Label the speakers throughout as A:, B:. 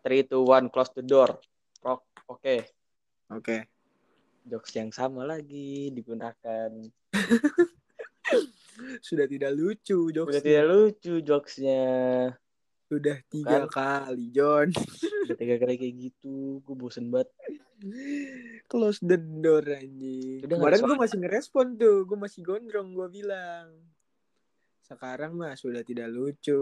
A: 3, 2, 1, close the door. Rock. Oke.
B: Oke.
A: Jokes yang sama lagi digunakan.
B: Sudah tidak lucu, jokes.
A: Udah tidak lucu jokesnya.
B: Sudah tiga kali, John.
A: Udah tiga kali kayak gitu. Gue bosen banget.
B: Close the door anjing.
A: Udah,
B: Kemarin
A: nggak
B: gue masih ngerespon tuh, gue masih gondrong gue bilang. Sekarang mah sudah tidak lucu.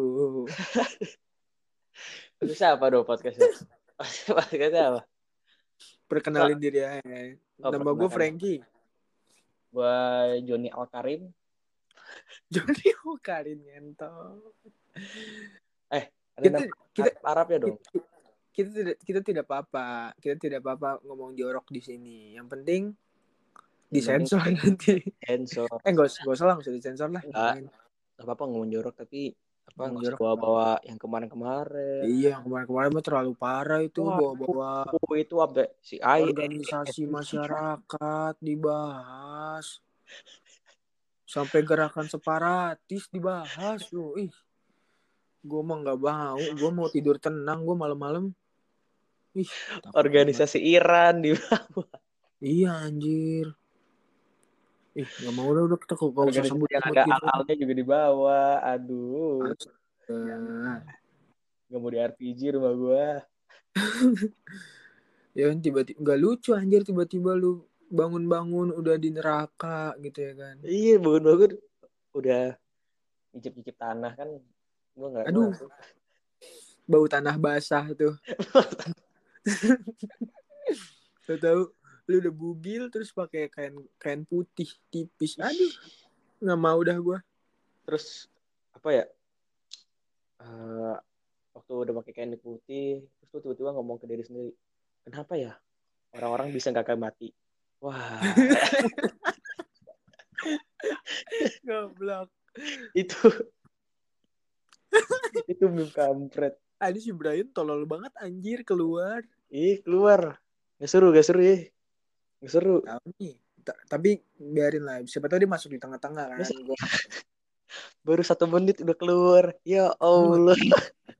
A: Terus apa dong podcastnya? podcastnya apa?
B: Perkenalin diri aja.
A: Oh,
B: Nama gue
A: perkenalkan.
B: Frankie.
A: Gue Joni Alkarim.
B: Johnny Hukarin ngentot.
A: Ada
B: Kita,
A: nama
B: kita,
A: Arab ya dong?
B: kita tidak kita tidak apa-apa. Kita tidak apa-apa ngomong jorok di sini. Yang penting disensor nanti.
A: Enzo.
B: Eh gak, usah- gak usah lah, gak usah disensor lah.
A: Nggak. Gak apa-apa ngomong jorok tapi apa
B: Ngomong
A: nggak usah
B: jorok.
A: bawa-bawa yang kemarin-kemarin.
B: Iya, kemarin-kemarin mah terlalu parah itu
A: Wah, ya.
B: bawa-bawa
A: Oh, itu apa si Ai
B: organisasi masyarakat dibahas sampai gerakan separatis dibahas lu ih gue mah nggak mau gue mau tidur tenang gue malam-malam ih takut
A: organisasi Iran di
B: banget. iya anjir ih nggak mau udah udah kita kok kalau usah
A: organisasi
B: sebut
A: yang
B: sebut
A: ada
B: gitu.
A: akalnya juga dibawa. Aduh.
B: Nah,
A: Gak mau di RPG rumah gua.
B: ya kan, tiba-tiba nggak lucu anjir tiba-tiba lu bangun-bangun udah di neraka gitu ya kan
A: Iya, bangun-bangun udah ngicip-ngicip tanah kan. Gua enggak
B: Aduh. bau tanah basah tuh. Tahu tahu lu udah bugil terus pakai kain kain putih tipis. Aduh, nggak mau dah gua.
A: Terus apa ya? Eh, waktu udah pakai kain putih, terus tuh tiba-tiba ngomong ke diri sendiri. Kenapa ya? Orang-orang bisa nggak akan mati. Wah,
B: Goblok.
A: itu itu meme kampret.
B: Aduh si Brian tolol banget anjir keluar.
A: Ih, keluar. Gak seru, gak seru, ih. Gak seru.
B: Tahu nih. Ta- Tapi biarin lah. Siapa tahu dia masuk di tengah-tengah kan.
A: Masa-
B: Gua-
A: Baru satu menit udah keluar. Ya Allah.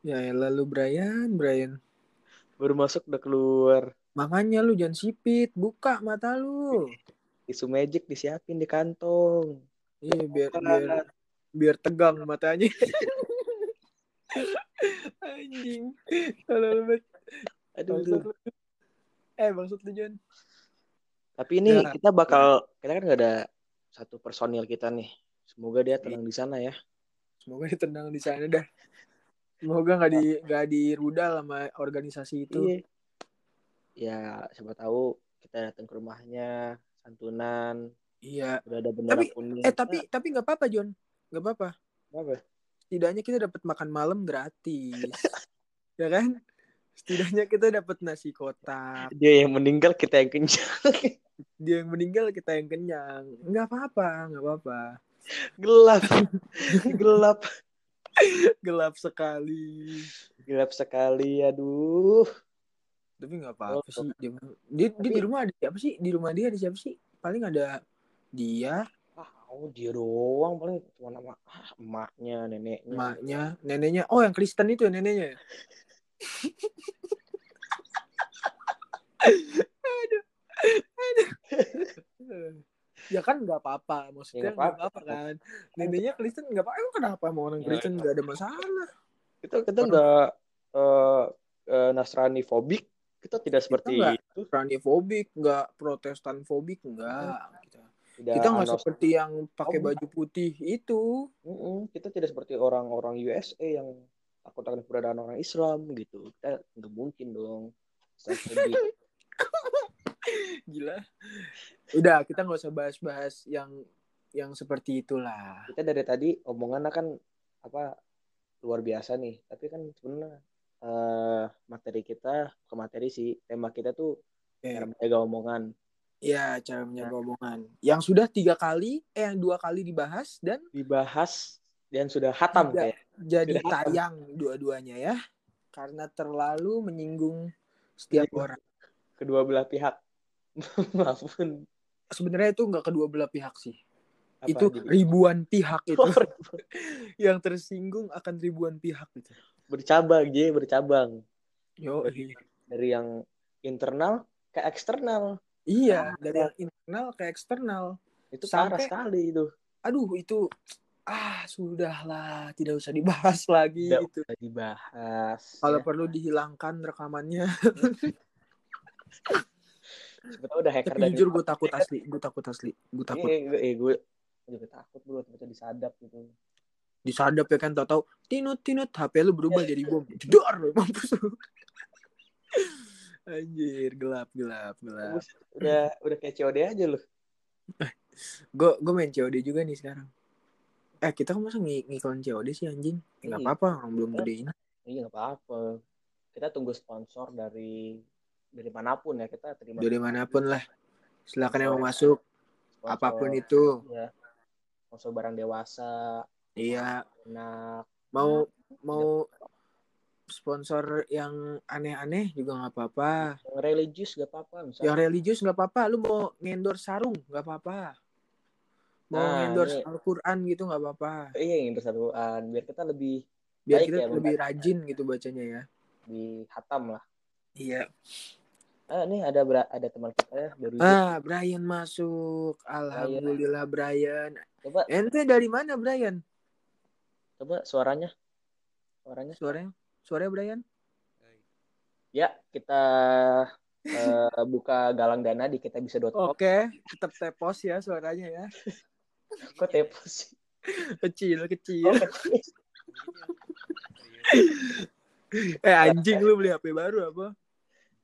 B: Ya elah lu Brian, Brian.
A: Baru masuk udah keluar.
B: Makanya lu jangan sipit, buka mata lu.
A: Tisu magic disiapin di kantong.
B: Iya biar biar biar tegang matanya. Anjing. Tolol banget.
A: Aduh.
B: Maksud lu- Eh maksud lu John
A: Tapi ini
B: Ya.
A: kita bakal kita kan nggak ada satu personil kita nih. Semoga dia tenang di sana ya.
B: Semoga ditendang di sana dah Semoga gak, di, gak dirudal sama organisasi itu
A: Iya. Ya siapa tahu kita datang ke rumahnya santunan
B: Iya
A: udah ada bendera
B: Tapi-
A: kuning.
B: Eh tapi tapi gak apa-apa John Gak apa-apa
A: Nah, apa?
B: Setidaknya kita dapat makan malam gratis Ya kan Setidaknya kita dapat nasi kotak
A: Dia yang meninggal kita yang kenyang.
B: Dia yang meninggal kita yang kenyang Gak apa-apa Gak apa-apa
A: gelap. gelap.
B: Gelap sekali
A: Gelap sekali. Aduh.
B: Tapi gak apa-apa sih Dia, dia, dia di rumah ada siapa sih Di rumah dia ada siapa sih Paling ada dia
A: Ah, oh, dia doang paling cuma nama ah, emaknya, neneknya.
B: Emaknya, neneknya. Oh, yang Kristen itu ya neneknya. ya? aduh, aduh. ya kan nggak apa-apa, maksudnya
A: Ya, nggak
B: nggak
A: apa-apa.
B: apa-apa kan. Neneknya Kristen nggak apa-apa. Emang kenapa sama orang
A: Ya,
B: Kristen
A: ya.
B: nggak ada masalah?
A: kita kita nggak eh, eh, nasrani fobik kita tidak seperti
B: nggak.
A: itu
B: Raniefobik, nggak Protestan fobik,
A: Iya.
B: nggak. Kita-
A: tidak
B: Kita nggak
A: anos-
B: seperti yang pakai baju putih itu.
A: Mm-mm, kita tidak seperti orang-orang USA yang takut akan keberadaan orang Islam gitu kita nggak mungkin dong Islam fobik.
B: Gila. Udah, kita nggak usah bahas-bahas yang yang seperti itulah.
A: kita dari tadi omongannya kan apa luar biasa nih tapi kan sebenarnya eh, materi kita ke materi sih tema kita tuh
B: Ya,
A: cara menjaga omongan
B: Ya, cara menjaga omongan. Yang sudah tiga kali, eh yang dua kali dibahas dan
A: dibahas dan sudah hatam
B: Tidak.
A: kayak
B: jadi
A: Sudah apa?
B: tayang dua-duanya ya. Karena terlalu menyinggung setiap
A: Menyinggung.
B: orang.
A: kedua belah pihak maafun
B: Sebenarnya itu nggak kedua belah pihak sih.
A: apa
B: itu
A: jadi?
B: ribuan pihak itu
A: Oh,
B: yang tersinggung akan ribuan pihak gitu.
A: bercabang J bercabang
B: Yo, iya.
A: dari yang internal ke eksternal
B: iya dari yang internal ke eksternal.
A: itu parah
B: Sampai-
A: sekali itu
B: Aduh itu ah sudahlah tidak usah dibahas lagi
A: Tidak
B: gitu.
A: usah dibahas
B: Kalau perlu dihilangkan rekamannya.
A: ya. sebetulnya udah hacker
B: Tapi jujur gue takut asli, gue takut asli, gue takut.
A: Iya, gue, eh, gue juga takut bro tiba disadap gitu
B: Nah. Disadap ya kan, tau-tau tinut tinut HP lu berubah
A: Iya.
B: jadi bom, jedor lu, mampus lu. Anjir, gelap gelap gelap.
A: Buset, udah udah kayak COD aja loh
B: Gue gue main COD juga nih sekarang. Eh kita kan masa ng ngiklan COD sih anjing?
A: Iya.
B: Gak apa-apa, orang belum gedein.
A: iya nggak apa-apa kita tunggu sponsor dari dari manapun ya kita terima
B: Dari manapun lah. Silakan yang mau
A: Boleh.
B: masuk,
A: Sponsor.
B: apapun itu.
A: Iya. sponsor barang dewasa
B: Iya,
A: anak
B: mau
A: Iya.
B: mau sponsor yang aneh-aneh juga nggak apa-apa.
A: yang religius gak apa-apa misalnya
B: Yang Ya, religius nggak apa-apa. Lu mau ngendor sarung nggak apa-apa. Mau
A: Nah,
B: ngendor
A: ini-
B: Al-Quran gitu nggak apa-apa.
A: iya yang persatuan biar kita lebih
B: Biar
A: Baik
B: kita
A: ya,
B: lebih
A: Bang.
B: rajin gitu bacanya ya.
A: di hatam lah
B: Iya.
A: ah, nih ada bra- ada teman kita ya dari
B: Ah, Brian masuk. Alhamdulillah Brian.
A: coba
B: Ente dari mana Brian?
A: coba suaranya suaranya
B: Suaranya? Suaranya Brian?
A: ya kita eh, buka galang dana di kita bisa
B: Oh. Oke, tetap tepos ya suaranya ya.
A: kok tepo sih
B: Kecil,
A: Oh,
B: kecil.
A: kecil.
B: Eh anjing lu beli HP baru apa?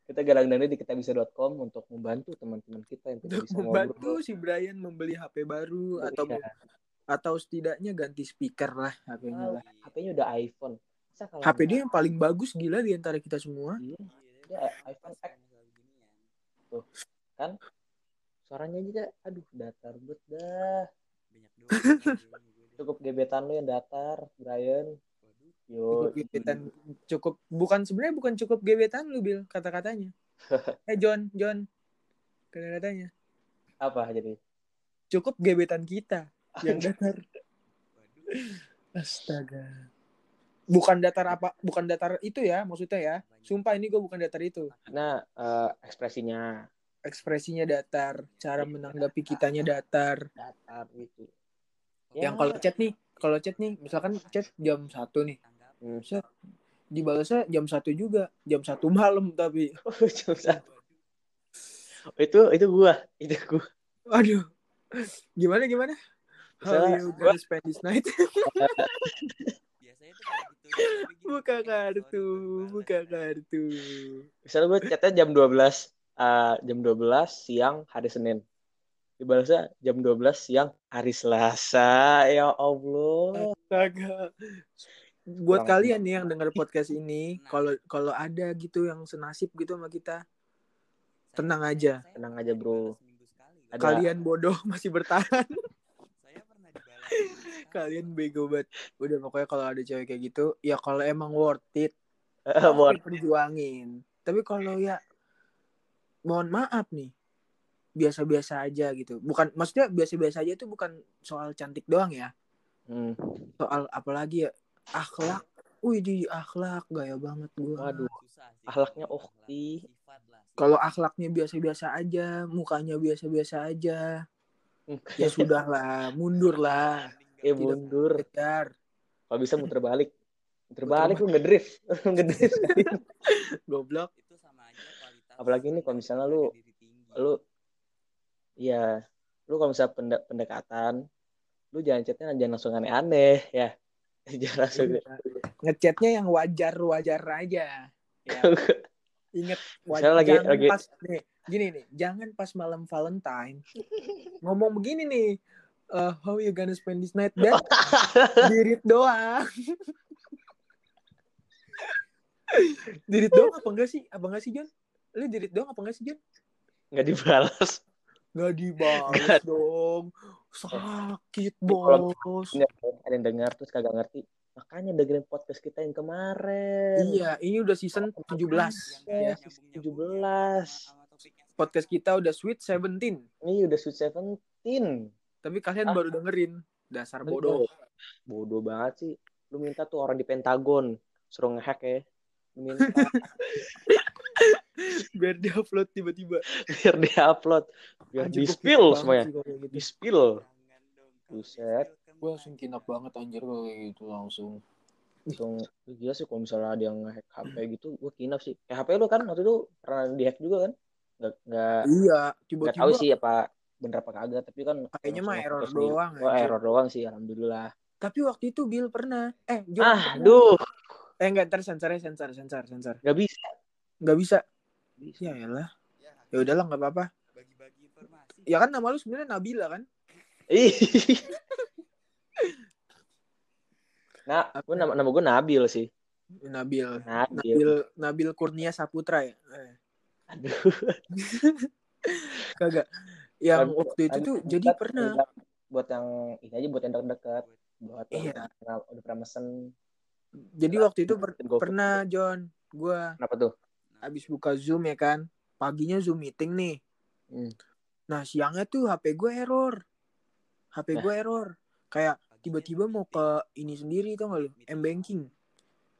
A: kita galang dana di kitabisa.com untuk membantu teman-teman kita yang tidak
B: Untuk
A: bisa
B: membantu
A: ngobrol.
B: si Brian membeli HP baru
A: Iya.
B: atau atau setidaknya ganti speaker lah HP-nya lah.
A: HP-nya udah iPhone. Masa kalau
B: HP dia yang paling bagus gila di antara kita semua.
A: Iya, dia iPhone X. Tuh, kan? Suaranya aja, aduh datar bet dah. Cukup gebetan lu yang datar, Brian. Yo, iya.
B: Cukup gebetan cukup bukan sebenarnya bukan cukup gebetan lu Bil kata-katanya. eh John, John. Kata-katanya
A: apa jadi?
B: cukup gebetan kita yang datar. Astaga. Bukan datar apa? Bukan datar itu ya maksudnya ya. Sumpah ini gue bukan datar itu.
A: Nah, eh, ekspresinya
B: Ekspresinya datar, cara menanggapi kitanya datar.
A: datar gitu.
B: yang kalau chat nih kalau chat nih misalkan chat jam satu nih
A: Hmm.
B: set dibalasnya jam satu juga jam satu malam tapi
A: Jam satu. itu itu gua, itu gua.
B: aduh gimana gimana How
A: Misalnya
B: you
A: gua-
B: gonna spend this night?
C: biasanya tuh kayak gitu tapi gini, gitu
B: buka
C: sorry,
B: kartu,
C: baru
B: buka
C: balas.
B: kartu.
A: Misalnya gue chatnya jam 12 eh, jam 12 siang hari Senin. Dibalasnya jam 12 siang hari Selasa. Ya Allah.
B: Astaga.
A: Kurang-
B: Buat kalian nih yang dengar podcast
C: Nah.
B: ini, kalau kalau ada gitu yang senasib gitu sama kita,
C: Saya-
B: Tenang aja.
C: saya
A: Tenang
C: pernah
A: aja, bro.
C: dibalas seminggu sekali,
A: Ada-
B: kalian bodoh masih bertahan.
C: saya pernah dibalas seminggu sekali.
B: kalian bego banget. Udah pokoknya kalau ada cewek kayak gitu, ya kalau emang worth it,
A: Eh, Buat
B: Tapi perjuangin. Tapi kalau ya mohon maaf nih. Biasa-biasa aja gitu. Bukan maksudnya biasa-biasa aja itu bukan soal cantik doang ya.
A: Hmm.
B: Soal apalagi ya akhlak. Wih di akhlak gaya banget gua.
A: Waduh.
C: Susah sih
A: Ahlaknya
C: kalau
A: Okti.
C: akhlak, sifat lah, sifat.
B: Kalau akhlaknya biasa-biasa aja, mukanya biasa-biasa aja.
A: Hmm.
B: Ya sudahlah, mundurlah.
A: Eh
C: Tidak
A: mundur.
B: Kejar.
A: Kalau bisa muter balik. Muter balik lu ngedrift. Lu ngedrift.
B: Goblok.
C: itu sama aja kualitas
A: Apalagi ini kalau misalnya lu-
C: diri tinggi.
A: lu iya lu kalau misalnya pende- pendekatan lu jangan chatnya jangan langsung aneh-aneh ya jangan langsung
B: Iya. Ngechatnya yang wajar-wajar aja. Ya. Ingat
A: Misalnya lagi-
B: jangan
A: lagi-
B: pas nih, gini nih, jangan pas malam Valentine ngomong begini nih. eh, how you gonna spend this night? Dan dirit doang. dirit doang apa enggak sih? Apa enggak sih, John? Lu dirit doang apa enggak sih, John?
A: nggak dibalas
B: Gak dibalas dong. Sakit,
A: Kalau-
B: bos.
A: Nggak, ada yang dengar terus kagak ngerti makanya dengerin podcast kita yang kemarin
B: Iya, ini udah season
C: Yang
B: 17. Ya.
D: Iya.
C: kayak nyambung-nyambungnya sama-
A: 17.
C: sama topiknya.
B: Podcast kita udah sweet 17.
A: ini udah sweet seventeen
B: Tapi kalian
A: Ah.
B: baru dengerin. Dasar bodoh.
A: bodoh banget sih lu minta tuh orang di Pentagon suruh ngehack ya minta
B: biar dia upload tiba-tiba
A: biar dia upload biar
B: Anjir,
A: di
B: gua
A: spill
B: kinap
A: semuanya
B: banget sih kalau kayak gitu.
A: di spill
C: Jangan dong. Kalau
A: Buset.
C: di-spill kan
B: gue langsung kinap banget anjir kalau kayak gitu langsung
A: langsung "Ih, gila sih kalau misalnya ada yang ngehack HP gitu gue kinap sih kayak HP lu kan waktu itu pernah dihack juga kan nggak nggak
B: iya
A: nggak
B: tiba-tiba
A: tahu sih apa bener apa kagak tapi kan
B: Kayaknya mah
A: langsung
B: error
A: fokus di-
B: doang,
A: oh,
B: anjir.
A: error doang sih alhamdulillah
B: tapi waktu itu Gil pernah eh Gil
A: ah
B: pernah.
A: aduh
B: eh enggak ntar sensor sensor sensor sensor
A: nggak bisa
B: nggak bisa
C: bisa.
B: ya elah
C: Ya,
B: ya udahlah nggak apa-apa
C: Bagi-bagi informasi.
B: ya kan nama lu sebenarnya Nabila kan
A: Ih. nah gue nama nama gue Nabil sih
B: Nabil
A: Nabil
B: Nabil Nabil Kurnia Saputra ya Eh,
A: aduh
B: kagak yang
A: Nabil-
B: waktu itu
A: Nabil
B: tuh
A: dekat,
B: jadi pernah
A: dekat. buat yang ini aja buat yang dekat-dekat buat yang
B: Iya.
A: udah pernah, udah pernah mesen
B: jadi waktu itu per-
A: Gua-
B: pernah John gua
A: kenapa tuh
B: abis buka Zoom ya kan paginya Zoom meeting nih
A: Hmm.
B: nah siangnya tuh HP gue error
A: Nah.
B: HP gue error kayak
C: Baginya
B: tiba-tiba mau
C: meeting.
B: ke ini sendiri tau gak lu M banking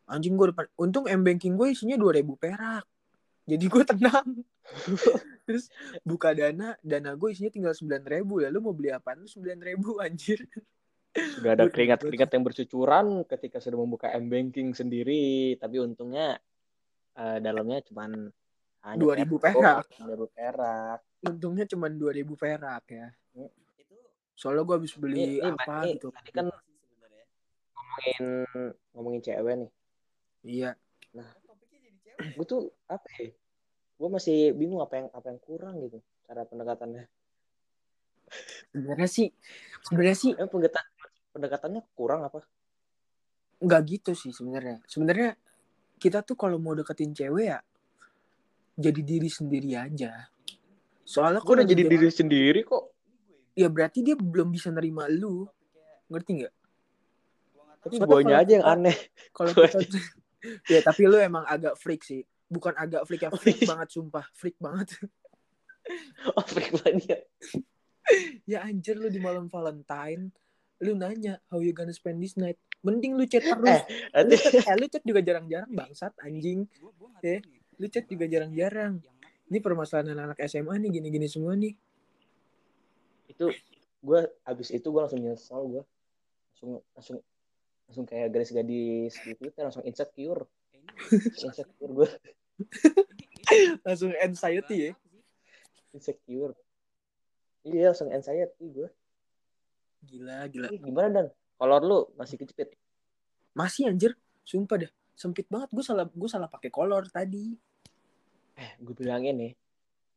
B: anjing gue depan untung M banking gue isinya 2000 perak jadi gue tenang terus buka dana dana gue isinya tinggal 9000 ya lu mau beli apaan lu 9000 anjir
A: sudah ada
B: Gua-
A: keringat-keringat yang bercucuran ketika sudah membuka m banking sendiri tapi untungnya eh, dalamnya cuman hanya
B: 2000 perak.
A: 2000 perak
B: untungnya cuma 2000 perak ya
C: Itu
B: soalnya gue habis
A: Ini-
B: beli
A: ini
B: apa
A: berarti
B: gitu
A: tadi kan
C: sih sebenarnya.
A: ngomongin ngomongin cewek nih
B: iya
C: Kan topiknya jadi cewek.
A: gue tuh apa ya gue masih bingung apa yang apa yang kurang gitu cara pendekatannya
B: sebenarnya sih sebenarnya sih
A: emang pendekatan pendekatannya kurang apa
B: nggak gitu sih sebenarnya sebenarnya kita tuh kalau mau deketin cewek ya jadi diri sendiri aja soalnya
A: gue
B: kalau
A: udah jadi
B: dia-
A: diri sendiri kok
C: Ini gue yang
B: ya berarti dia belum bisa nerima lu
C: Iya. topiknya gua nggak tahu.
B: ngerti nggak
A: tapi
B: Soalnya
A: guanya
B: kalau
A: aja yang
B: kita-
A: aneh
B: kalau
A: Oh,
B: kita
A: iya.
B: ya tapi lu emang agak freak sih bukan agak freak ya freak
A: iya.
B: banget sumpah freak banget
A: oh freak banget ya.
B: ya anjir lu di malam Valentine lu nanya how you gonna spend this night mending lu chat terus lu
A: nanti
B: chat, eh, lu chat juga jarang-jarang bangsat anjing
C: Gua- gua nggak
B: Eh,
C: tahu nih.
B: lu chat juga jarang-jarang
C: Yang mana?
B: ini permasalahan anak SMA nih gini-gini semua nih
A: itu gue abis itu gue langsung nyesal gue langsung langsung langsung kayak gadis-gadis di Twitter langsung insecure
C: Kayaknya
A: insecure gue
B: langsung anxiety ya
A: insecure iya langsung anxiety gue
B: gila gila
A: Ih, gimana dan kolor lu masih kejepit
B: masih anjir sumpah dah sempit banget gue salah gue salah pakai kolor tadi
A: eh gue bilangin nih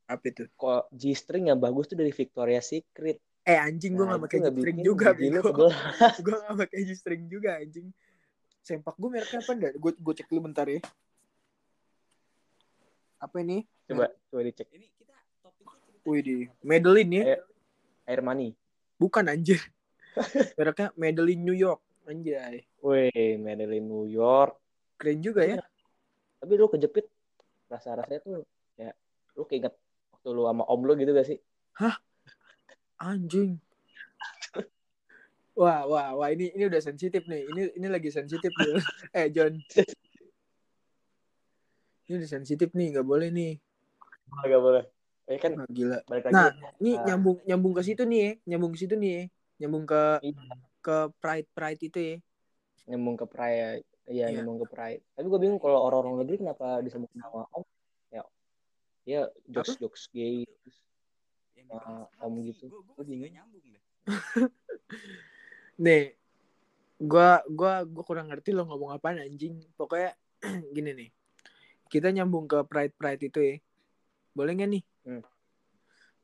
B: apa itu
A: kok G string yang bagus tuh dari Victoria's Secret
B: eh anjing gue
A: Nah,
B: nggak
A: itu
B: pakai
A: nggak
B: string
A: bikin
B: juga
A: gigi lu
B: bego
A: tebel.
B: gue gak pakai G-string juga anjing sempak gue mereknya apa enggak gue gue cek dulu bentar ya apa ini
A: coba coba dicek
C: ini kita topiknya cerita
B: wih di
C: apa sih?
B: Madeline ya
A: Eh. air mani
B: bukan anjir mereknya Madeline New York anjay
A: weh Madeline New York
B: keren juga ya
A: tapi lu kejepit rasa rasanya tuh ya lu keinget waktu lu sama om lu gitu gak sih
B: anjing wah wah wah ini ini udah sensitif nih ini ini lagi sensitif nih eh John ini udah sensitif nih nggak boleh nih
A: Gak boleh ya kan
B: Wah, gila
A: balik lagi
B: nah ini
A: Ah.
B: nyambung nyambung ke situ nih ya nyambung ke situ nih ya nyambung ke
A: Iya,
B: ke pride pride itu ya
A: nyambung ke Pride iya
B: Iya.
A: nyambung ke Pride tapi gue bingung kalau orang-orang negeri kenapa disebut nama om ya ya jokes jokes
C: Yang
A: gay
C: dibahas
A: Ah, om
C: apa sih?
A: gitu.
C: Gua- gua
A: Gua
C: masih nggak
A: bingung.
C: nyambung deh.
B: nih gua gua gua kurang ngerti lo ngomong apaan anjing pokoknya gini nih kita nyambung ke pride pride itu ya boleh nggak nih
A: Hmm.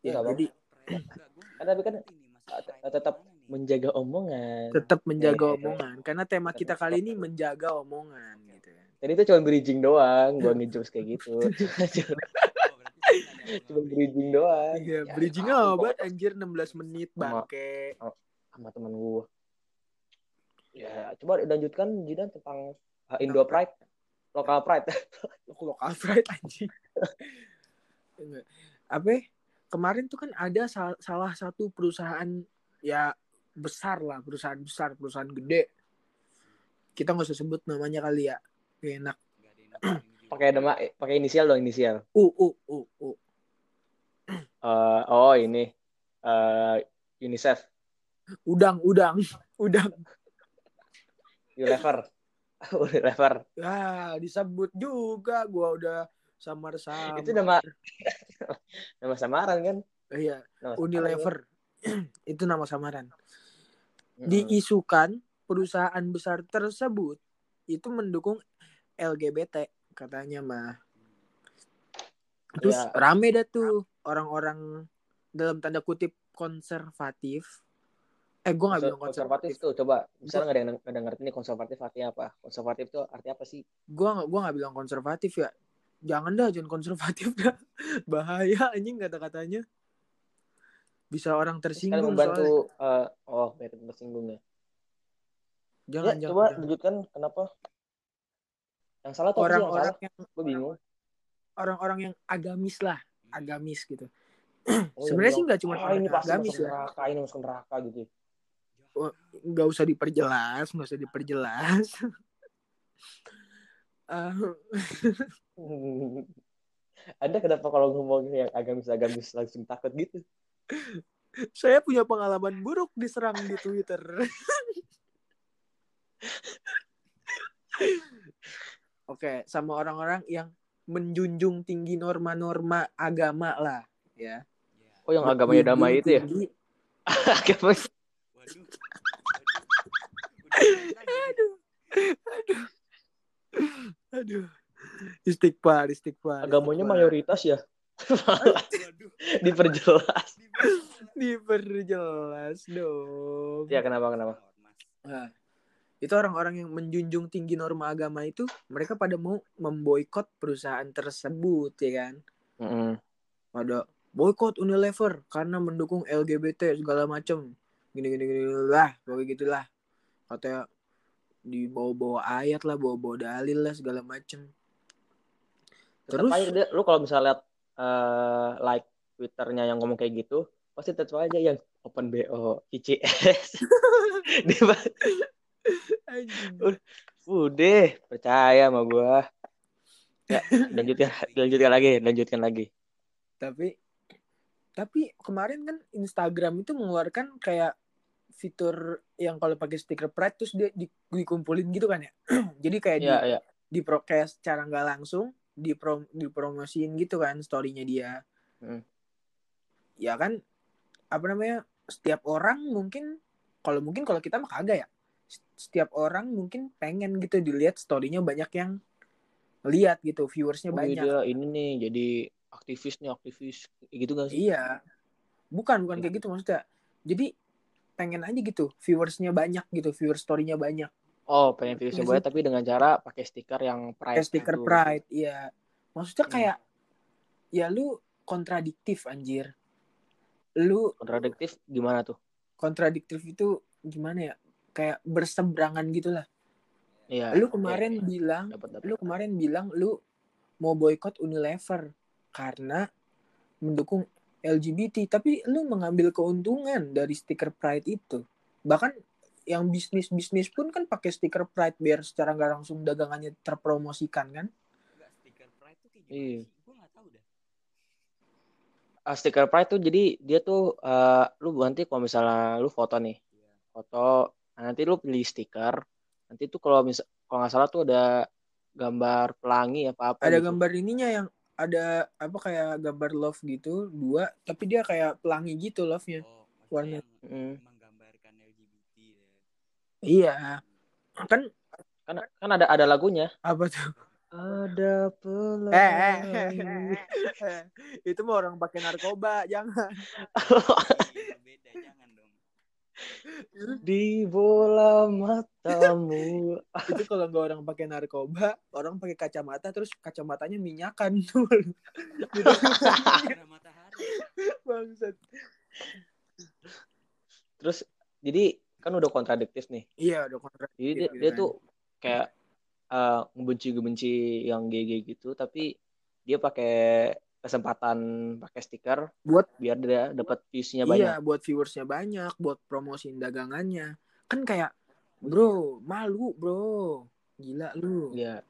B: ya
A: Nggak
B: jadi
C: Pride juga, gua nggak
A: Eh, tapi kan,
C: ngerti nih masalah
A: eh,
C: pride
A: tetap
C: yang mana nih. Oh,
A: menjaga omongan
B: tetap menjaga
A: Iya, ya. iya, iya.
B: omongan karena tema kita kali ini menjaga omongan gitu kan
A: tadi itu cuma bridging doang gue ngejokes kayak gitu Cuma-
C: Oh, berarti saya nggak nyambung
A: cuma
C: sama
A: bridging doang
B: iya
A: Ya,
B: bridging
A: tahu
B: obat
A: kok
B: anjir 16 menit
A: Sama-
B: bangke
A: sama teman gue ya coba lanjutkan Jidan tentang eh, Indo Pride lokal Pride
B: lokal pride anjing Enggak. apa ya? kemarin tuh kan ada sal- salah satu perusahaan ya besar lah perusahaan besar perusahaan gede kita nggak usah sebut namanya kali ya Enak.
C: Nggak ada yang dengerin juga.
A: Pakai nama eh, pakai inisial dong inisial.
B: U u u u.
A: Eh, oh ini eh UNICEF,
B: Udang udang udang.
A: Unilever, Unilever.
B: Ya disebut juga. Gua udah samar samar.
A: Itu nama nama samaran kan?
B: Iya.
A: Nama samaran.
B: Unilever. itu nama samaran.
A: Hmm. Mm-mm.
B: Diisukan perusahaan besar tersebut itu mendukung LGBT katanya mah. Terus
A: Ya.
B: rame dah tuh orang-orang dalam tanda kutip konservatif. Eh gue gak bilang
A: konservatif tuh
B: konservatif.
A: coba misalnya nggak ada yang nggak ada yang ngerti nih konservatif artinya apa konservatif tuh artinya apa sih
B: Gue gak, gua gak bilang konservatif ya. Jangan dah jangan konservatif dah. Bahaya anjing kata-katanya. Bisa orang
A: sekali
B: tersinggung soalnya.
A: membantu eh, oh biar tersinggungnya ya
B: Jangan, jangan,
A: coba
B: jangan.
A: lanjutkan kenapa yang salah tuh orang, yang
B: Orang-orang
A: salah
B: yang
A: gue bingung
B: orang-orang yang agamis lah.
A: Hmm.
B: Agamis gitu.
A: Oh,
B: Sebenarnya
A: yang bilang,
B: sih nggak cuma
A: ah, ini pasti
B: agamis
A: masuk
B: ya.
A: neraka ini masuk neraka gitu Oh,
C: Ya.
B: nggak usah diperjelas, nggak usah diperjelas. Eh,
A: ada kenapa kalau ngomongin yang agamis agamis langsung takut gitu
B: saya punya pengalaman buruk diserang di Twitter. Oke, sama orang-orang yang menjunjung tinggi norma-norma agama lah, ya.
C: Ya.
A: oh yang agamanya damai itu ya
B: Menjunjung tinggi-
A: agamis
C: Waduh. Waduh. Udah lagi.
B: Aduh, aduh, aduh. Istighfar, istighfar.
A: agamanya
B: istighfar.
A: mayoritas ya
C: Waduh.
A: diperjelas
C: Di mana?
B: Diperjelas dong.
A: ya kenapa kenapa
C: Ormas.
B: Nah, itu orang-orang yang menjunjung tinggi norma agama itu mereka pada mau memboikot perusahaan tersebut ya kan
A: Mm-mm.
B: pada boikot Unilever karena mendukung LGBT segala macem gini gini gini lah pokoknya gitulah katanya dibawa-bawa ayat lah bawa-bawa dalil lah segala macem
A: Tetep
B: terus
A: aja dia- lu kalau misalnya lihat eh, like twitternya yang ngomong kayak gitu pasti tetap aja yang open bo ICS Dia ba-
B: Anjing.
A: udah percaya sama gua ya, lanjutkan lanjutkan lagi lanjutkan lagi
B: tapi tapi kemarin kan Instagram itu mengeluarkan kayak fitur yang kalau pakai stiker pride terus dia di- dikumpulin gitu kan ya jadi kayak di
A: ya ya
B: di prokes secara nggak langsung diprom dipromosiin gitu kan storynya dia
A: Hmm.
B: ya kan apa namanya setiap orang mungkin kalau mungkin kalau kita mah kagak ya setiap orang mungkin pengen gitu dilihat storynya banyak yang lihat gitu viewersnya
A: Oh,
B: banyak
A: dia ini nih jadi aktivis nih aktivis gitu gak sih
B: Iya. Bukan, bukan kayak
A: Iya.
B: gitu maksudnya. Jadi pengen aja gitu viewersnya banyak gitu, viewer story-nya banyak.
A: oh pengen views
B: Iya
A: yang banyak
B: sih.
A: tapi dengan cara pakai stiker yang pride
B: Kayak stiker
A: gitu.
B: pride, iya. Maksudnya
A: Hmm.
B: kayak ya lu kontradiktif anjir. Lu
A: kontradiktif gimana tuh
B: kontradiktif itu gimana ya? Kayak berseberangan gitu lah.
A: Iya.
B: Lu kemarin bilang,
A: dapat dapat
B: lu kemarin bilang lu mau boykot Unilever karena mendukung LGBT, tapi lu mengambil keuntungan dari stiker pride itu. Bahkan yang bisnis-bisnis pun kan pakai stiker pride biar secara nggak langsung dagangannya terpromosikan kan?
C: Enggak stiker pride tuh kayak gimana
A: Iya.
C: sih? Gua enggak tahu dah.
A: Ah, stiker pride tuh jadi dia tuh eh, lu nanti kalau misalnya lu foto nih
C: Iya.
A: foto nah, nanti lu pilih stiker nanti tuh kalau misal kalau nggak salah tuh ada gambar pelangi apa apa
B: Ada
A: gitu.
B: gambar ininya yang ada apa kayak gambar love gitu dua, tapi dia kayak pelangi gitu love-nya.
C: Oh,
B: Warna.
C: maksudnya
A: Mm.
C: yang menggambarkan LGBT ya.
B: Iya, kan
A: kan kan ada ada lagunya
B: apa tuh?
A: ada pelangi
B: Eh, eh, eh, eh, eh. itu mah orang pakai narkoba, jangan. eh.
C: Iya, beda jangan dong.
A: di bola matamu
B: itu kalau nggak orang pakai narkoba orang pakai kacamata terus kacamatanya minyakan tuh
C: Karena
B: gitu
C: matahari.
B: bangsat
A: terus jadi kan udah kontradiktif nih
B: iya udah kontrak
A: jadi dia,
B: Gitu
A: dia
B: kan.
A: tuh kayak eh ngebenci-ngebenci yang GG gitu tapi dia pakai kesempatan pakai stiker
B: Buat-
A: biar dia dapat views-nya
B: iya
A: banyak
B: buat viewersnya banyak buat promosiin dagangannya kan kayak bro malu bro gila lu
A: Iya.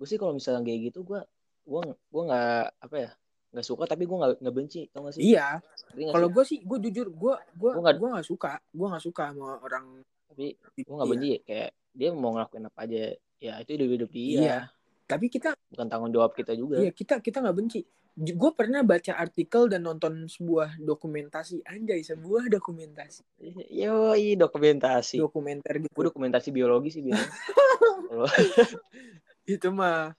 A: gue sih kalau misalnya kayak gitu gue gue gue nggak apa ya nggak suka tapi gue nggak nggak benci tau gak sih
B: Iya,
A: Ngerti nggak
B: kalau
A: sih?
B: gue sih gue jujur gue gue
A: Gua
B: gue
A: nggak-
B: nggak suka gue nggak suka sama orang
A: tapi gue
B: Iya.
A: nggak benci kayak dia mau ngelakuin apa aja ya itu hidup hidup dia
B: Iya. Tapi kita
A: bukan tanggung jawab kita juga
B: Iya kita kita nggak benci. Gue pernah baca artikel dan nonton sebuah dokumentasi, anjay sebuah dokumentasi,
A: yo dokumentasi
B: dokumenter
A: gue
B: gitu.
A: dokumentasi biologi sih biasanya Kalau-
B: Itu mah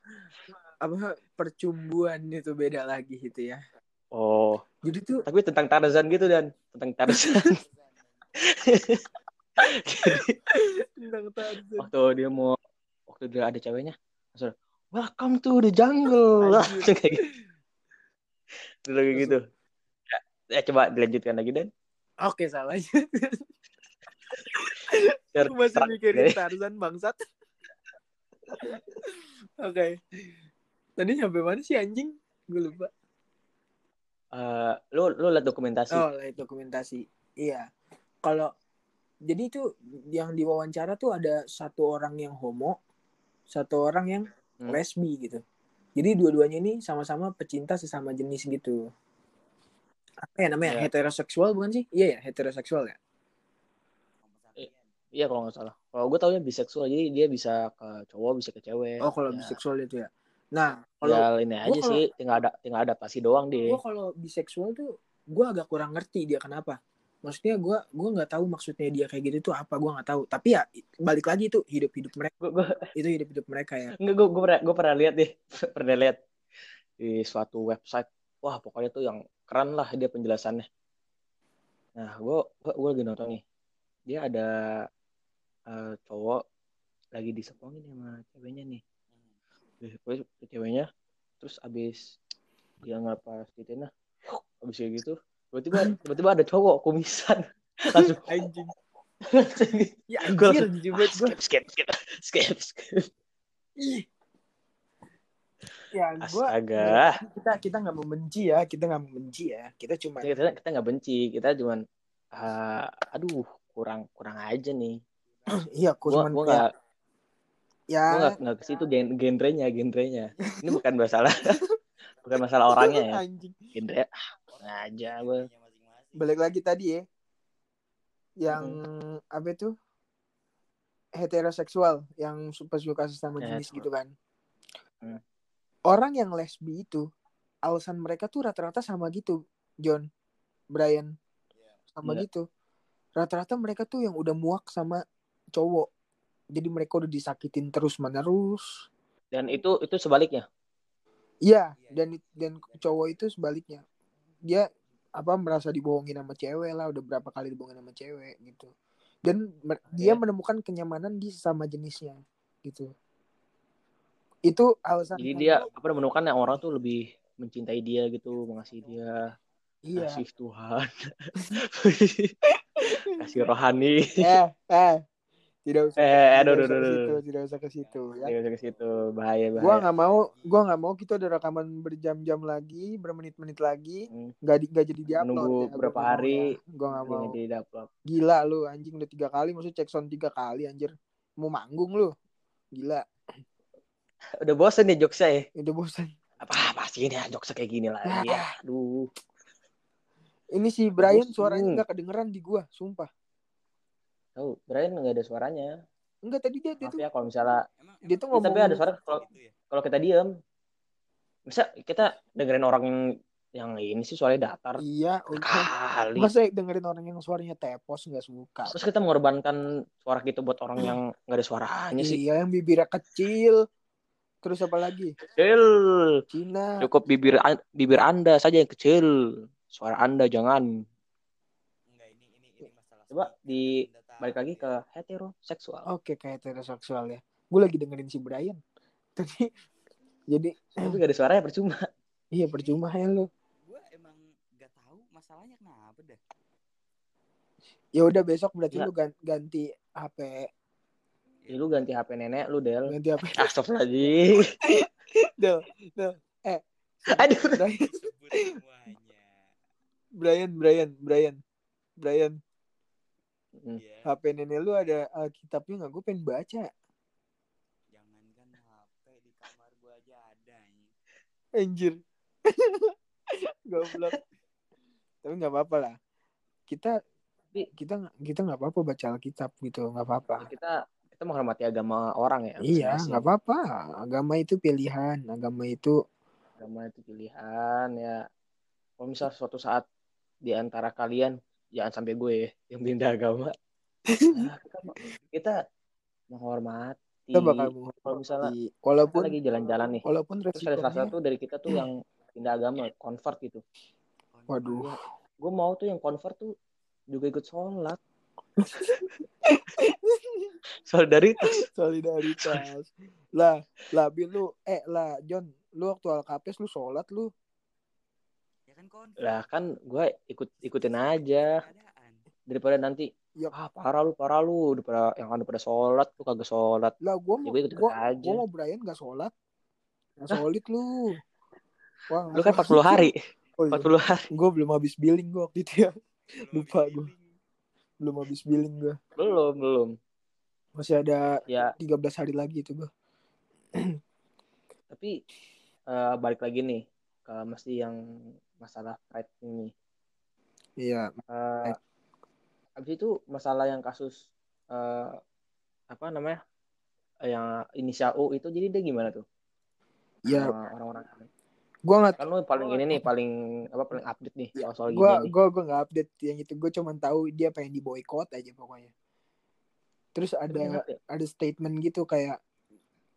B: apa percumbuan itu beda lagi gitu ya.
A: oh
B: Jadi tuh
A: tapi tentang Tarzan gitu dan tentang Tarzan
B: tentang Tarzan.
A: waktu dia mau waktu dia ada ceweknya langsung welcome to the jungle
B: Anjir.
A: langsung kayak gitu Terus kayak gitu ya, ya, coba dilanjutkan lagi dan
B: Oke salah aja.
A: Biar
B: Gua masih
A: terang.
B: mikirin Tarzan bangsat. Oke. Tadi nyampe mana sih anjing? Gue lupa.
A: Eh, lu lu liat dokumentasi
B: Oh, live dokumentasi. Iya. Kalau jadi itu yang diwawancara tuh ada satu orang yang homo, satu orang yang
A: Hmm.
B: lesbi gitu. Jadi dua-duanya ini sama-sama pecinta sesama jenis gitu. Apa ya namanya?
A: Iya.
B: Heteroseksual bukan sih? Iya ya, heteroseksual ya.
A: iya kalau nggak salah kalau gue taunya biseksual jadi dia bisa ke cowok bisa ke cewek
B: Oh, kalau
A: ya,
B: biseksual itu ya. Nah, kalau
A: tinggal ini aja
B: kalau-
A: sih tinggal ada tinggal adaptasi doang deh
B: gue kalau biseksual tuh gue agak kurang ngerti dia kenapa maksudnya gue gua nggak tahu maksudnya dia kayak gitu tuh apa gue nggak tahu tapi ya balik lagi itu hidup hidup mereka
A: gue gue
B: itu hidup hidup mereka ya
A: Enggak, gue gue pernah gue pernah lihat deh, pernah lihat di suatu website. Wah, pokoknya tuh yang keren lah dia penjelasannya. Nah, gue gue, gue lagi nonton nih. Dia ada eh, cowok lagi disepongin sama ceweknya nih. Terus terus ceweknya terus abis dia ngelepas gitu nah. Abis kayak gitu, tiba-tiba tiba-tiba ada cowok kumisan. Langsung
B: anjing
A: skip,
B: ya
A: Gua
B: anjir jijik banget gue
A: skip, skip, skip, skip.
B: ya gue
A: Astaga.
B: kita kita nggak membenci ya kita nggak membenci ya kita cuma
A: kita kita- kita nggak benci kita cuman ah, aduh kurang kurang aja nih
B: iya aku
A: gua
B: cuma
A: gua
B: ya,
A: nggak
B: ya
A: gua nggak nggak ke situ gen genrenya genrenya ini bukan masalah bukan masalah orangnya ya
B: anjing
A: genre ah, kurang aja gua
B: balik lagi tadi ya yang apa itu heteroseksual yang suka suka sesama
A: Ya,
B: jenis
A: itu.
B: gitu kan
A: Hmm.
B: orang yang lesbi itu alasan mereka tuh rata-rata sama gitu John Brian sama
A: Iya.
B: gitu rata-rata mereka tuh yang udah muak sama cowok jadi mereka udah disakitin terus menerus
A: dan itu itu sebaliknya
B: Iya, dan dan cowok itu sebaliknya. Dia apa merasa dibohongin sama cewek lah, udah berapa kali dibohongin sama cewek gitu. Dan mer- dia
A: Iya.
B: menemukan kenyamanan di sesama jenisnya gitu. Itu alasan
A: jadi dia apa menemukan yang orang tuh lebih mencintai dia gitu mengasihi dia
B: Iya.
A: kasih Tuhan kasih rohani
B: Eh, eh. Tidak usah.
A: Eh, eh, aduh,
B: tidak usah
A: aduh, aduh,
B: ke situ,
A: aduh.
B: tidak usah ke situ ya.
A: Dia ke situ bahaya
B: Gua
A: bahaya
B: nggak mau, gua nggak mau kita ada rekaman berjam-jam lagi, bermenit-menit lagi,
A: Hmm.
B: nggak di, nggak jadi diupload.
A: Menunggu
B: ya. Gua
A: berapa
B: nggak mau
A: hari,
B: ya. Gua nggak mau.
A: Nggak jadi dapet
B: Gila lu anjing udah tiga kali maksud cek sound tiga kali anjir. Mau manggung lu. Gila,
A: udah bosen nih jokesnya ya
B: udah bosan.
A: apa apa sih ini jokes kayak gini lagi ya aduh
B: Ini si Brian
A: Bosen.
B: suaranya nggak kedengeran di gua, sumpah.
A: tahu Brian nggak ada suaranya
B: Enggak tadi dia, dia
A: maaf
B: tuh
A: ya kalau misalnya
B: dia tuh
A: tapi
B: ngomong-
A: ada suara kalau
C: gitu ya?
A: kalau kita diem masa kita dengerin orang yang ini sih suaranya datar
B: iya udah.
A: kali
B: Masa dengerin orang yang suaranya tepos nggak suka.
A: terus kita mengorbankan suara kita buat orang yang nggak ada suaranya sih
B: Iya yang bibirnya kecil. Terus apa lagi?
A: kecil
B: Cina.
A: cukup bibir an- bibir anda saja yang kecil suara anda jangan Coba di- balik lagi ke heteroseksual
B: Oke kayak heteroseksual ya. Gua lagi dengerin si Brian. Tadi jadi
A: tapi nggak ada suaranya percuma
B: iya percuma ya lu.
C: Gue emang gak tahu masalahnya kenapa dah.
B: Ya udah besok berarti
A: Iya.
B: lu gan- ganti HP,
A: ya, lu ganti HP nenek lu Del
B: ganti HP.
A: Astagfirullahaladzim Eh.
B: Del, Del.
A: aduh
B: Brian.
C: Sebut semuanya.
B: Brian, Brian, Brian, Brian,
A: Hmm.
C: Ya,
B: HP nenek lu ada Alkitabnya nggak? Gue pengen baca.
C: jangankan HP di kamar
B: Anjir. Goblok. Tapi nggak apa-apa lah. Kita
A: Tapi-
B: kita nggak- kita nggak apa-apa baca Alkitab gitu, nggak apa-apa.
A: Kita kita menghormati agama orang ya.
B: Iya,
A: masing-masing.
B: nggak apa-apa. Agama itu pilihan, agama itu
A: agama itu pilihan ya kalau misal suatu saat di antara kalian jangan sampai gue ya, yang pindah agama Nah, kita- kita menghormati
B: kita bakal menghormati.
A: Iya, kalau misalnya kita
B: walaupun
A: lagi jalan-jalan nih
B: walaupun
A: terus ada salah
B: resikonya
A: satu dari kita tuh yang pindah agama convert gitu
B: waduh
A: gue mau tuh yang convert tuh juga ikut sholat solidaritas
B: solidaritas lah lah bin lu eh lah John lu waktu alkapes lu sholat lu
C: Ya kan kon.
A: lah kan gue ikut ikutin aja
C: Keadaan.
A: daripada nanti
B: Yap.
A: ah parah lu parah lu daripada yang ada pada sholat tuh kagak sholat
B: lah
A: ya
B: gua mau
A: gue ikut
B: gua,
A: aja
B: gua mau Brian gak sholat nggak solid lu Wah,
A: Lu kan 40 hari,
B: oh, iya.
A: 40 hari.
B: gue belum habis billing gua waktu itu ya
C: Belum
B: Lupa
C: habis
B: gua.
C: healing.
B: belum habis billing gua
A: Belum, belum.
B: masih ada
A: Ya,
B: 13 hari lagi itu gua
A: tapi eh, balik lagi nih ke mesti yang masalah pride ini.
B: iya
A: Eh habis itu masalah yang kasus eh, apa namanya? Eh, yang inisial U itu jadi dia gimana tuh?
B: ya
A: Sama orang-orang
B: gua nggak
A: kan lu paling ini nih paling apa paling update nih soal soal
B: gua
A: gini nih.
B: gua gua nggak update yang itu gua cuman tahu dia pengen di boykot aja pokoknya terus
A: Tapi
B: ada
A: kenapa ya?
B: ada statement gitu kayak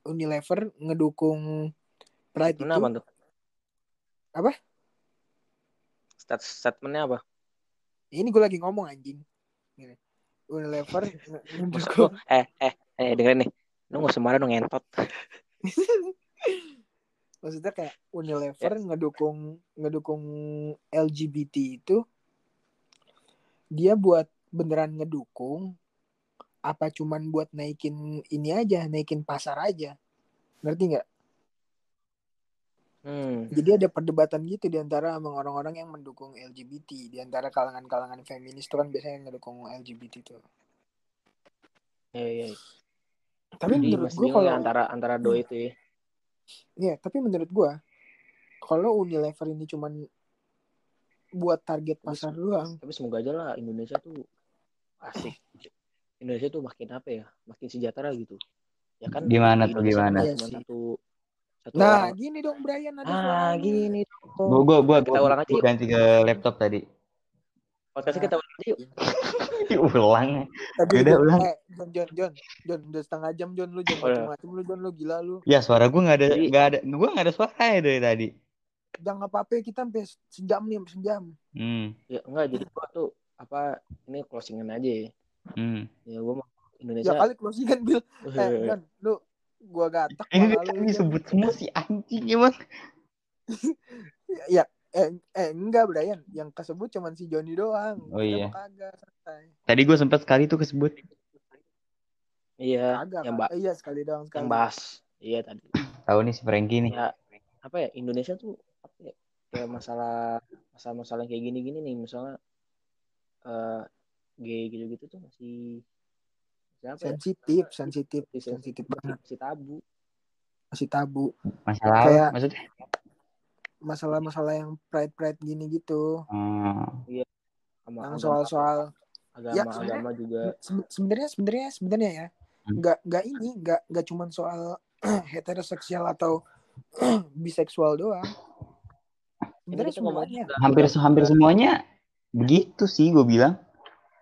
B: Unilever ngedukung Pride itu
A: Statementnya apa tuh?
B: Apa?
A: Stat statementnya apa?
B: ini gue lagi ngomong anjing Gini. Unilever nge-
A: Maksud
B: ngedukung
A: lu, eh eh eh dengerin nih. Lu gak usah marah dong ngentot.
B: maksudnya kayak Unilever
A: Ya.
B: ngedukung ngedukung LGBT itu dia buat beneran ngedukung apa cuman buat naikin ini aja naikin pasar aja ngerti nggak
A: Hmm.
B: Jadi ada perdebatan gitu di antara emang orang-orang yang mendukung LGBT, di antara kalangan-kalangan feminis tuh kan biasanya yang mendukung LGBT tuh.
A: Iya, iya.
B: Tapi
A: Jadi
B: menurut
A: masih
B: gua
A: bingung
B: kalau
A: ya
B: Hmm.
A: antara antara doi itu ya.
B: ya, tapi menurut gua kalau Unilever ini cuman buat target pasar doang.
A: Tapi semoga aja lah Indonesia tuh asik. Indonesia tuh makin apa ya? Makin sejahtera gitu. Ya kan?
D: Gimana
A: di
D: tuh,
A: Indonesia
D: gimana?
A: kan
B: Iya
A: cuma
B: sih.
A: satu satu
B: Nah,
A: orang.
B: gini dong Brian
A: Ah,
B: ada suaranya.
A: gini tuh.
D: Gua gua gua
A: Kita
D: gua-
A: ulang aja
D: gua
A: yuk.
D: ganti ke laptop tadi.
A: Podcastnya kita ulang aja yuk.
D: Ulang.
B: Tadi
D: Yaudah,
B: udah-
D: ulang.
B: eh, John, John, John, John, udah setengah jam John lu jangan
A: Oh, iya.
B: macem-macem lu John lu gila lu.
D: Ya suara gua nggak ada
A: Jadi-
D: nggak ada gua nggak ada suara ya dari tadi.
B: Jangan apa-apa kita sampai sejam nih, sampai sejam.
D: Hmm.
A: Ya enggak jadi gua tuh apa ini closingan aja ya.
D: hmm.
A: Ya gua mau
B: Ya
A: Indonesia.
B: kali closingan Bill.
A: Iya,
B: Eh, John, lu gua gatak
D: Ini
B: malah lu.
D: ini
B: John.
D: sebut semua si anjing emang.
B: Ya, eh, eh enggak Brian, yang kesebut cuman si Joni doang.
D: Oh,
B: Kita
D: iya.
B: mah Kagak santai.
D: Tadi gua sempat sekali tuh kesebut.
A: Iya,
B: Kagak.
A: yang
B: Kak.
A: ba-
B: Eh, iya sekali doang sekali.
A: yang bahas. Iya tadi.
D: Tahu nih si Frankie nih.
A: ya apa ya Indonesia tuh apa ya kayak masalah masalah masalah kayak gini gini nih misalnya eh gay gitu gitu tuh masih siapa ya Iya,
B: sensitif, sensitif,
A: Masih sensitif.
B: sensitif banget,
A: masih tabu
B: masih tabu.
D: Masalah
B: Kayak-
D: maksudnya.
B: Masalah-masalah yang pride-pride gini gitu.
D: Hmm.
A: sama
B: Yang
A: agama-
B: soal-soal
A: agama
B: Ya,
A: agama juga
B: Se- sebenarnya sebenarnya sebenarnya ya.
D: Hmm.
B: Enggak enggak ini, enggak enggak cuman soal heteroseksual atau biseksual doang.
A: ini
B: Sebenarnya
A: kita ngomongin
B: semuanya.
A: juga-
D: hampir hampir semuanya begitu sih gue bilang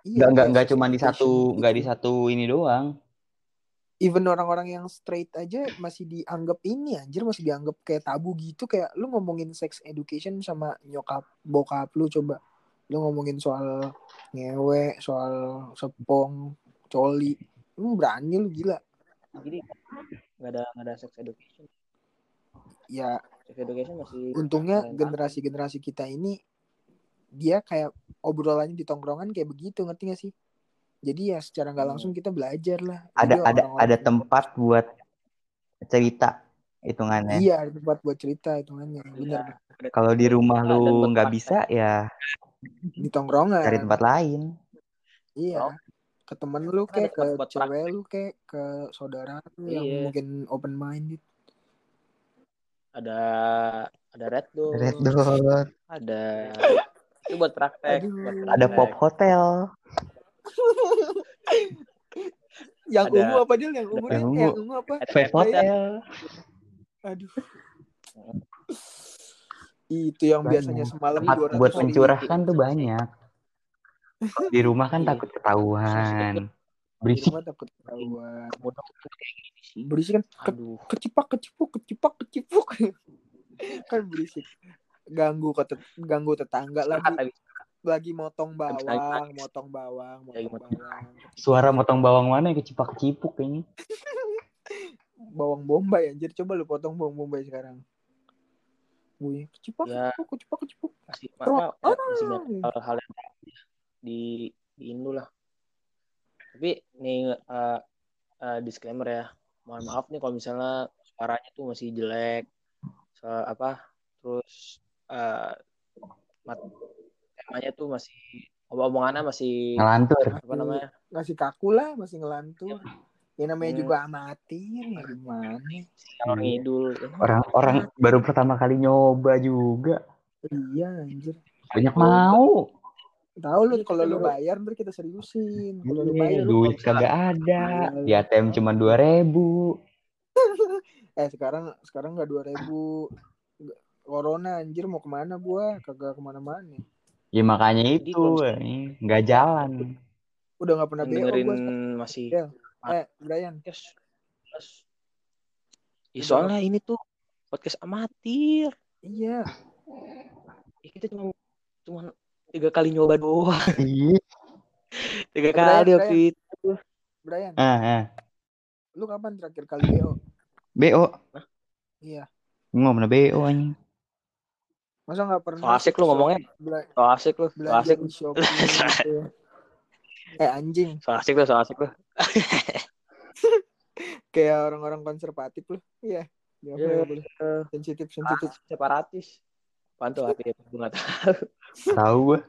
B: Iya,
D: nggak nggak nggak
B: kayak
D: cuma di satu
B: sexualization
D: nggak
B: gitu.
D: di satu ini doang
B: even orang-orang yang straight aja masih dianggap ini anjir masih dianggap kayak tabu gitu kayak lu ngomongin sex education sama nyokap bokap lu coba lu ngomongin soal ngewe soal sepong coli lu berani lu gila
A: jadi nggak ada nggak ada sex education
B: ya
A: sex education masih
B: untungnya
A: masih-
B: generasi-generasi kita ini dia kayak obrolannya di tongkrongan kayak begitu ngerti gak sih jadi ya secara
A: Iya.
B: nggak langsung kita belajar lah
D: ada
B: Jadi
D: ada
B: Iya, orang-orang- gitu.
D: ada tempat buat cerita hitungannya
B: iya ada tempat buat cerita hitungannya
A: Iya.
B: bener
D: kalau di rumah
A: Dan buat
D: lu nggak
A: tempat-
D: bisa ya
B: di tongkrongan
D: cari tempat lain
A: Bro.
B: Iya. Ke temen lu
A: Kan ada
B: kayak ke
A: tempat buat
B: cewek lu kayak ke saudara lu yang
A: Iya.
B: gitu. mungkin open minded.
A: ada ada red door,
D: Red Dot.
A: ada itu buat praktek,
B: Aduh.
A: buat
D: Ada
A: praktek.
D: Pop Hotel.
B: yang
A: Ada-
B: ungu apa dia yang ungu
D: ada
B: Dil?
D: ungu.
B: yang ungu apa
A: Ada
D: Fave
A: red hotel.
D: Hotel.
B: aduh itu yang
D: Banyak.
B: biasanya semalam
D: Tempat
B: 200
D: buat
B: hari.
D: mencurahkan tuh banyak. Kalau Di rumah kan
A: Iya.
D: takut ketahuan.
B: Di
D: Berisik.
B: rumah Iya, takut ketahuan
A: Bodoh.
B: berisik kan Ke-
A: Aduh,
B: kecipak kecipuk kecipak kecipuk kan berisik ganggu ke tet- ganggu tetangga
A: sekat
B: lagi
A: lagi.
B: lagi motong
A: Habis
B: bawang
A: nangis.
B: motong bawang
A: Lagi
B: motong
A: motong.
B: bawang
D: Suara motong bawang mana yang kecipak-cipuk kayaknya.
B: bawang bombay anjir coba lu potong bawang bombay sekarang bunyi kecipak
A: Ya.
B: kecipak kecipak kecipak
A: masih apa?
B: Oh.
A: ya, masih banyak hal-hal yang di di Indo lah. Tapi nih eh, eh, disclaimer ya, mohon maaf nih kalau misalnya suaranya tuh masih jelek, so, apa? Terus eh, mat- temanya tuh masih omongannya masih
D: Ngelantur.
A: apa namanya?
B: masih kaku lah masih ngelantur ya namanya
A: Hmm.
B: juga amatir ya gimana
A: Kalau ngidul.
D: Orang-orang baru pertama kali nyoba juga.
B: iya anjir
D: Banyak mau.
B: tahu lu
A: Iya,
B: kalau
A: lu-
B: lu bayar ntar kita seriusin kalau lu
D: Iya,
B: bayar lu
D: duit
A: kalau bisa-
D: kagak ada.
B: Iya.
D: Di ATM cuma 2000.
B: eh sekarang sekarang nggak dua ribu corona anjir mau kemana gua kagak kemana-mana
D: Ya makanya
A: Jadi kalau
D: itu, eh, nggak jalan.
B: udah nggak pernah
A: Yang
B: BO
A: dengerin
B: oh, gua
A: masih
B: Del. eh Brian
A: podcast. Terus, Ya soalnya ini tuh podcast amatir.
B: iya
A: Ya, kita cuma cuma tiga kali nyoba doang.
D: Iya.
A: Tiga
B: Udah,
A: kali
B: udah.
A: waktu itu.
B: Brian
D: Ah, ah.
B: lu kapan terakhir kali BO
D: BO.
B: Iya.
D: Ngomong mana BO anjing.
B: masa nggak pernah
A: So asik lu ngomongnya.
B: Bela-
A: So asik lu, so
B: belanja
A: asik,
B: di Shopee gitu. eh anjing
A: so asik lu, so asik lu.
B: kayak orang-orang konservatif lu iya Nggak boleh,
A: Iya.
B: nggak boleh. sensitif sensitif
A: Ah, separatis. Pantau hati ya, gue nggak tahu.
D: Tahu gua.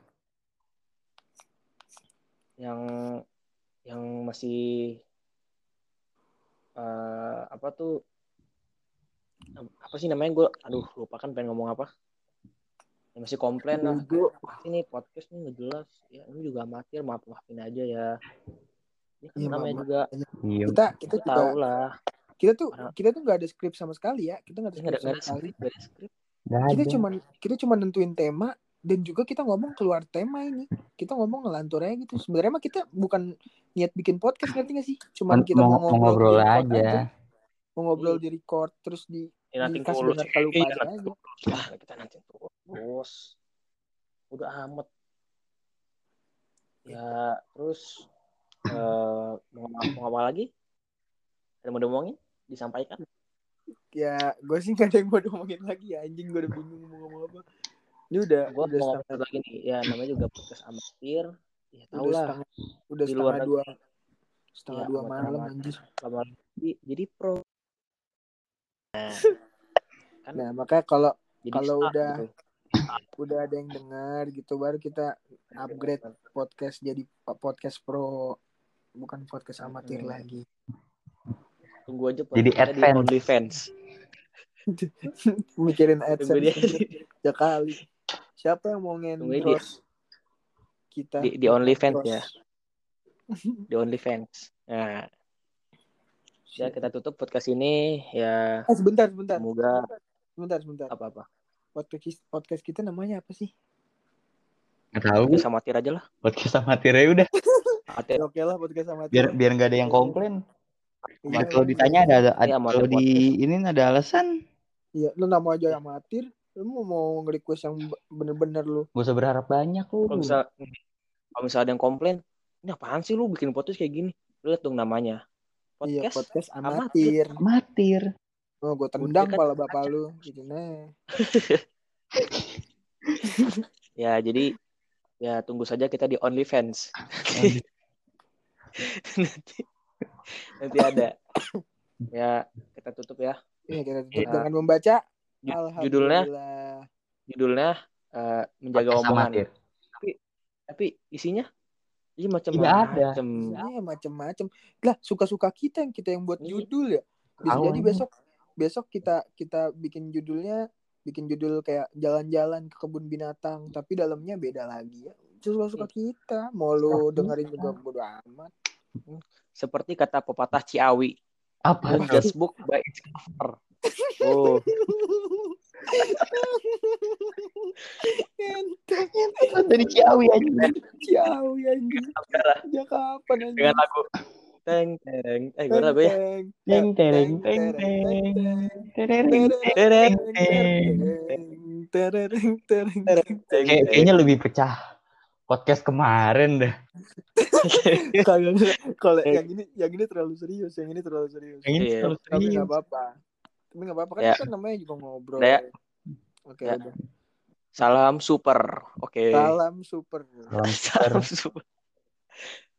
A: Yang yang masih eh apa tuh apa sih namanya gue aduh lupa kan pengen ngomong apa yang masih komplain lah
B: Bodoh.
A: ini podcast nih nggak jelas ya ini juga amatir maaf maafin aja ya ini kan
B: Iya,
A: namanya
B: maaf.
A: juga
D: Iya.
B: kita kita
A: kita
B: juga
A: tahu lah
B: kita tuh kita tuh nggak ada skrip sama sekali ya kita nggak ada
A: Ini nggak
B: skrip
A: ada nggak
B: sama
A: ada
B: sekali
A: skrip nggak ada skrip
D: Nggak
B: kita
D: ada.
B: cuman kita cuman nentuin tema dan juga kita ngomong keluar tema ini kita ngomong ngelantur aja gitu sebenarnya mah kita bukan niat bikin podcast ngerti gak sih cuman
D: Cuman
B: kita
D: mau,
B: mau
D: mau ngobrol
B: di-record
D: aja.
B: mau ngobrol
A: Iya.
B: di record terus di
A: ya, nanti
B: Dikasih
A: ngurus
B: dengar kalau
A: Iya,
B: pada
A: nanti
B: aja.
A: ngurus lah kita nanti terus udah amat ya terus eh, mau ngomong mau ngomong lagi ada mau diomongin disampaikan
B: ya gue sih gak ada yang mau ngomongin lagi ya anjing gue udah bingung mau ngomong apa ini udah
A: gue
B: udah
A: mau
B: setengah
A: ngomong lagi nih ya namanya juga podcast amatir ya tau
B: udah
A: lah
B: setengah udah
A: Di
B: setengah
A: luar
B: dua setengah
A: Iya,
B: dua
A: amat
B: malam
A: amat.
B: anjir
A: lama jadi, jadi pro nah, kan
B: nah makanya kalau
A: jadi
B: Kalau
A: start
B: udah
A: gitu.
B: udah ada yang dengar gitu baru kita upgrade podcast jadi podcast pro bukan podcast amatir
A: Hmm.
B: lagi
A: tunggu aja
D: Jadi
A: podcastnya
D: advance.
A: di OnlyFans
B: mikirin
A: tunggu dia
B: adsense ya kali siapa yang mau
A: Tunggu dia.
B: ngentros kita
A: Di- di OnlyFans
B: Terus.
A: ya. di OnlyFans nah ya kita tutup podcast ini ya
B: eh, sebentar sebentar
A: semoga
B: sebentar sebentar
A: apa apa
B: podcast podcast kita namanya apa sih
D: Nggak tahu.
A: podcast amatir aja lah
D: Podcast amatir ya udah.
A: amatir
B: Ya, oke lah podcast amatir
D: Biar biar nggak ada yang komplain.
B: Iya,
D: Nah, kalau ditanya ada, ada, ada-
A: Iya, amatir
D: kalau di ini ada alasan.
B: iya lu nama aja amatir lu mau mau nge-request yang bener-bener lu
D: Gak usah berharap banyak lu.
A: kalau bisa kalau misal ada yang komplain ini apaan sih lu bikin podcast kayak gini Lu lihat dong namanya
B: iya
A: podcast
B: podcast
A: amatir.
B: amatir
D: Amatir.
B: Oh, gue tendang
A: Udah kan.
B: kepala bapak lu gitu nah.
A: ya jadi ya tunggu saja kita di OnlyFans nanti nanti ada ya kita tutup ya
B: Iya, kita tutup
A: Iya.
B: dengan membaca
A: Ju-
B: Alhamdulillah.
A: judulnya judulnya eh, menjaga
D: Podcast
A: omongan
D: amatir.
A: tapi isinya ini macam
D: Tidak ada.
A: macam
B: Iya, macem-macem. Lah, suka-suka kita yang kita yang buat
A: Iya.
B: judul ya. Bisa
D: Tahu
B: jadi
D: aja.
B: besok besok kita kita bikin judulnya bikin judul kayak jalan-jalan ke kebun binatang tapi dalamnya beda lagi ya suka suka kita mau lu dengerin juga bodo amat
A: Seperti kata pepatah Ciawi,
D: Apa?
A: "A just book by its cover. Oh,
D: Dari Ciawi aja.
B: Ciao ya anjing. Ya kapan anjing?
A: dengan lagu teng teng. Eh, gue lagu ya.
B: Teng,
D: Teng teng
B: teng,
D: teng teng. Tereng,
B: teng,
D: teng.
A: Tereng,
D: teng.
B: tereng, tereng, tereng, tereng.
A: teng,
D: Kayak-
A: teng.
D: Kayaknya lebih pecah podcast kemarin dah.
B: Kagak, kagak. Kalau yang ini yang ini terlalu serius, yang ini terlalu serius.
D: Yang ini
A: Iya.
D: terlalu
B: Tapi
D: serius.
B: nggak apa-apa. Tapi nggak apa-apa kan
A: Ya.
B: kita namanya juga ngobrol.
A: Ya.
B: Oke,
A: Ya.
B: udah.
A: Salam super. Oke.
B: Salam super.
D: Salam super.
A: Salam super.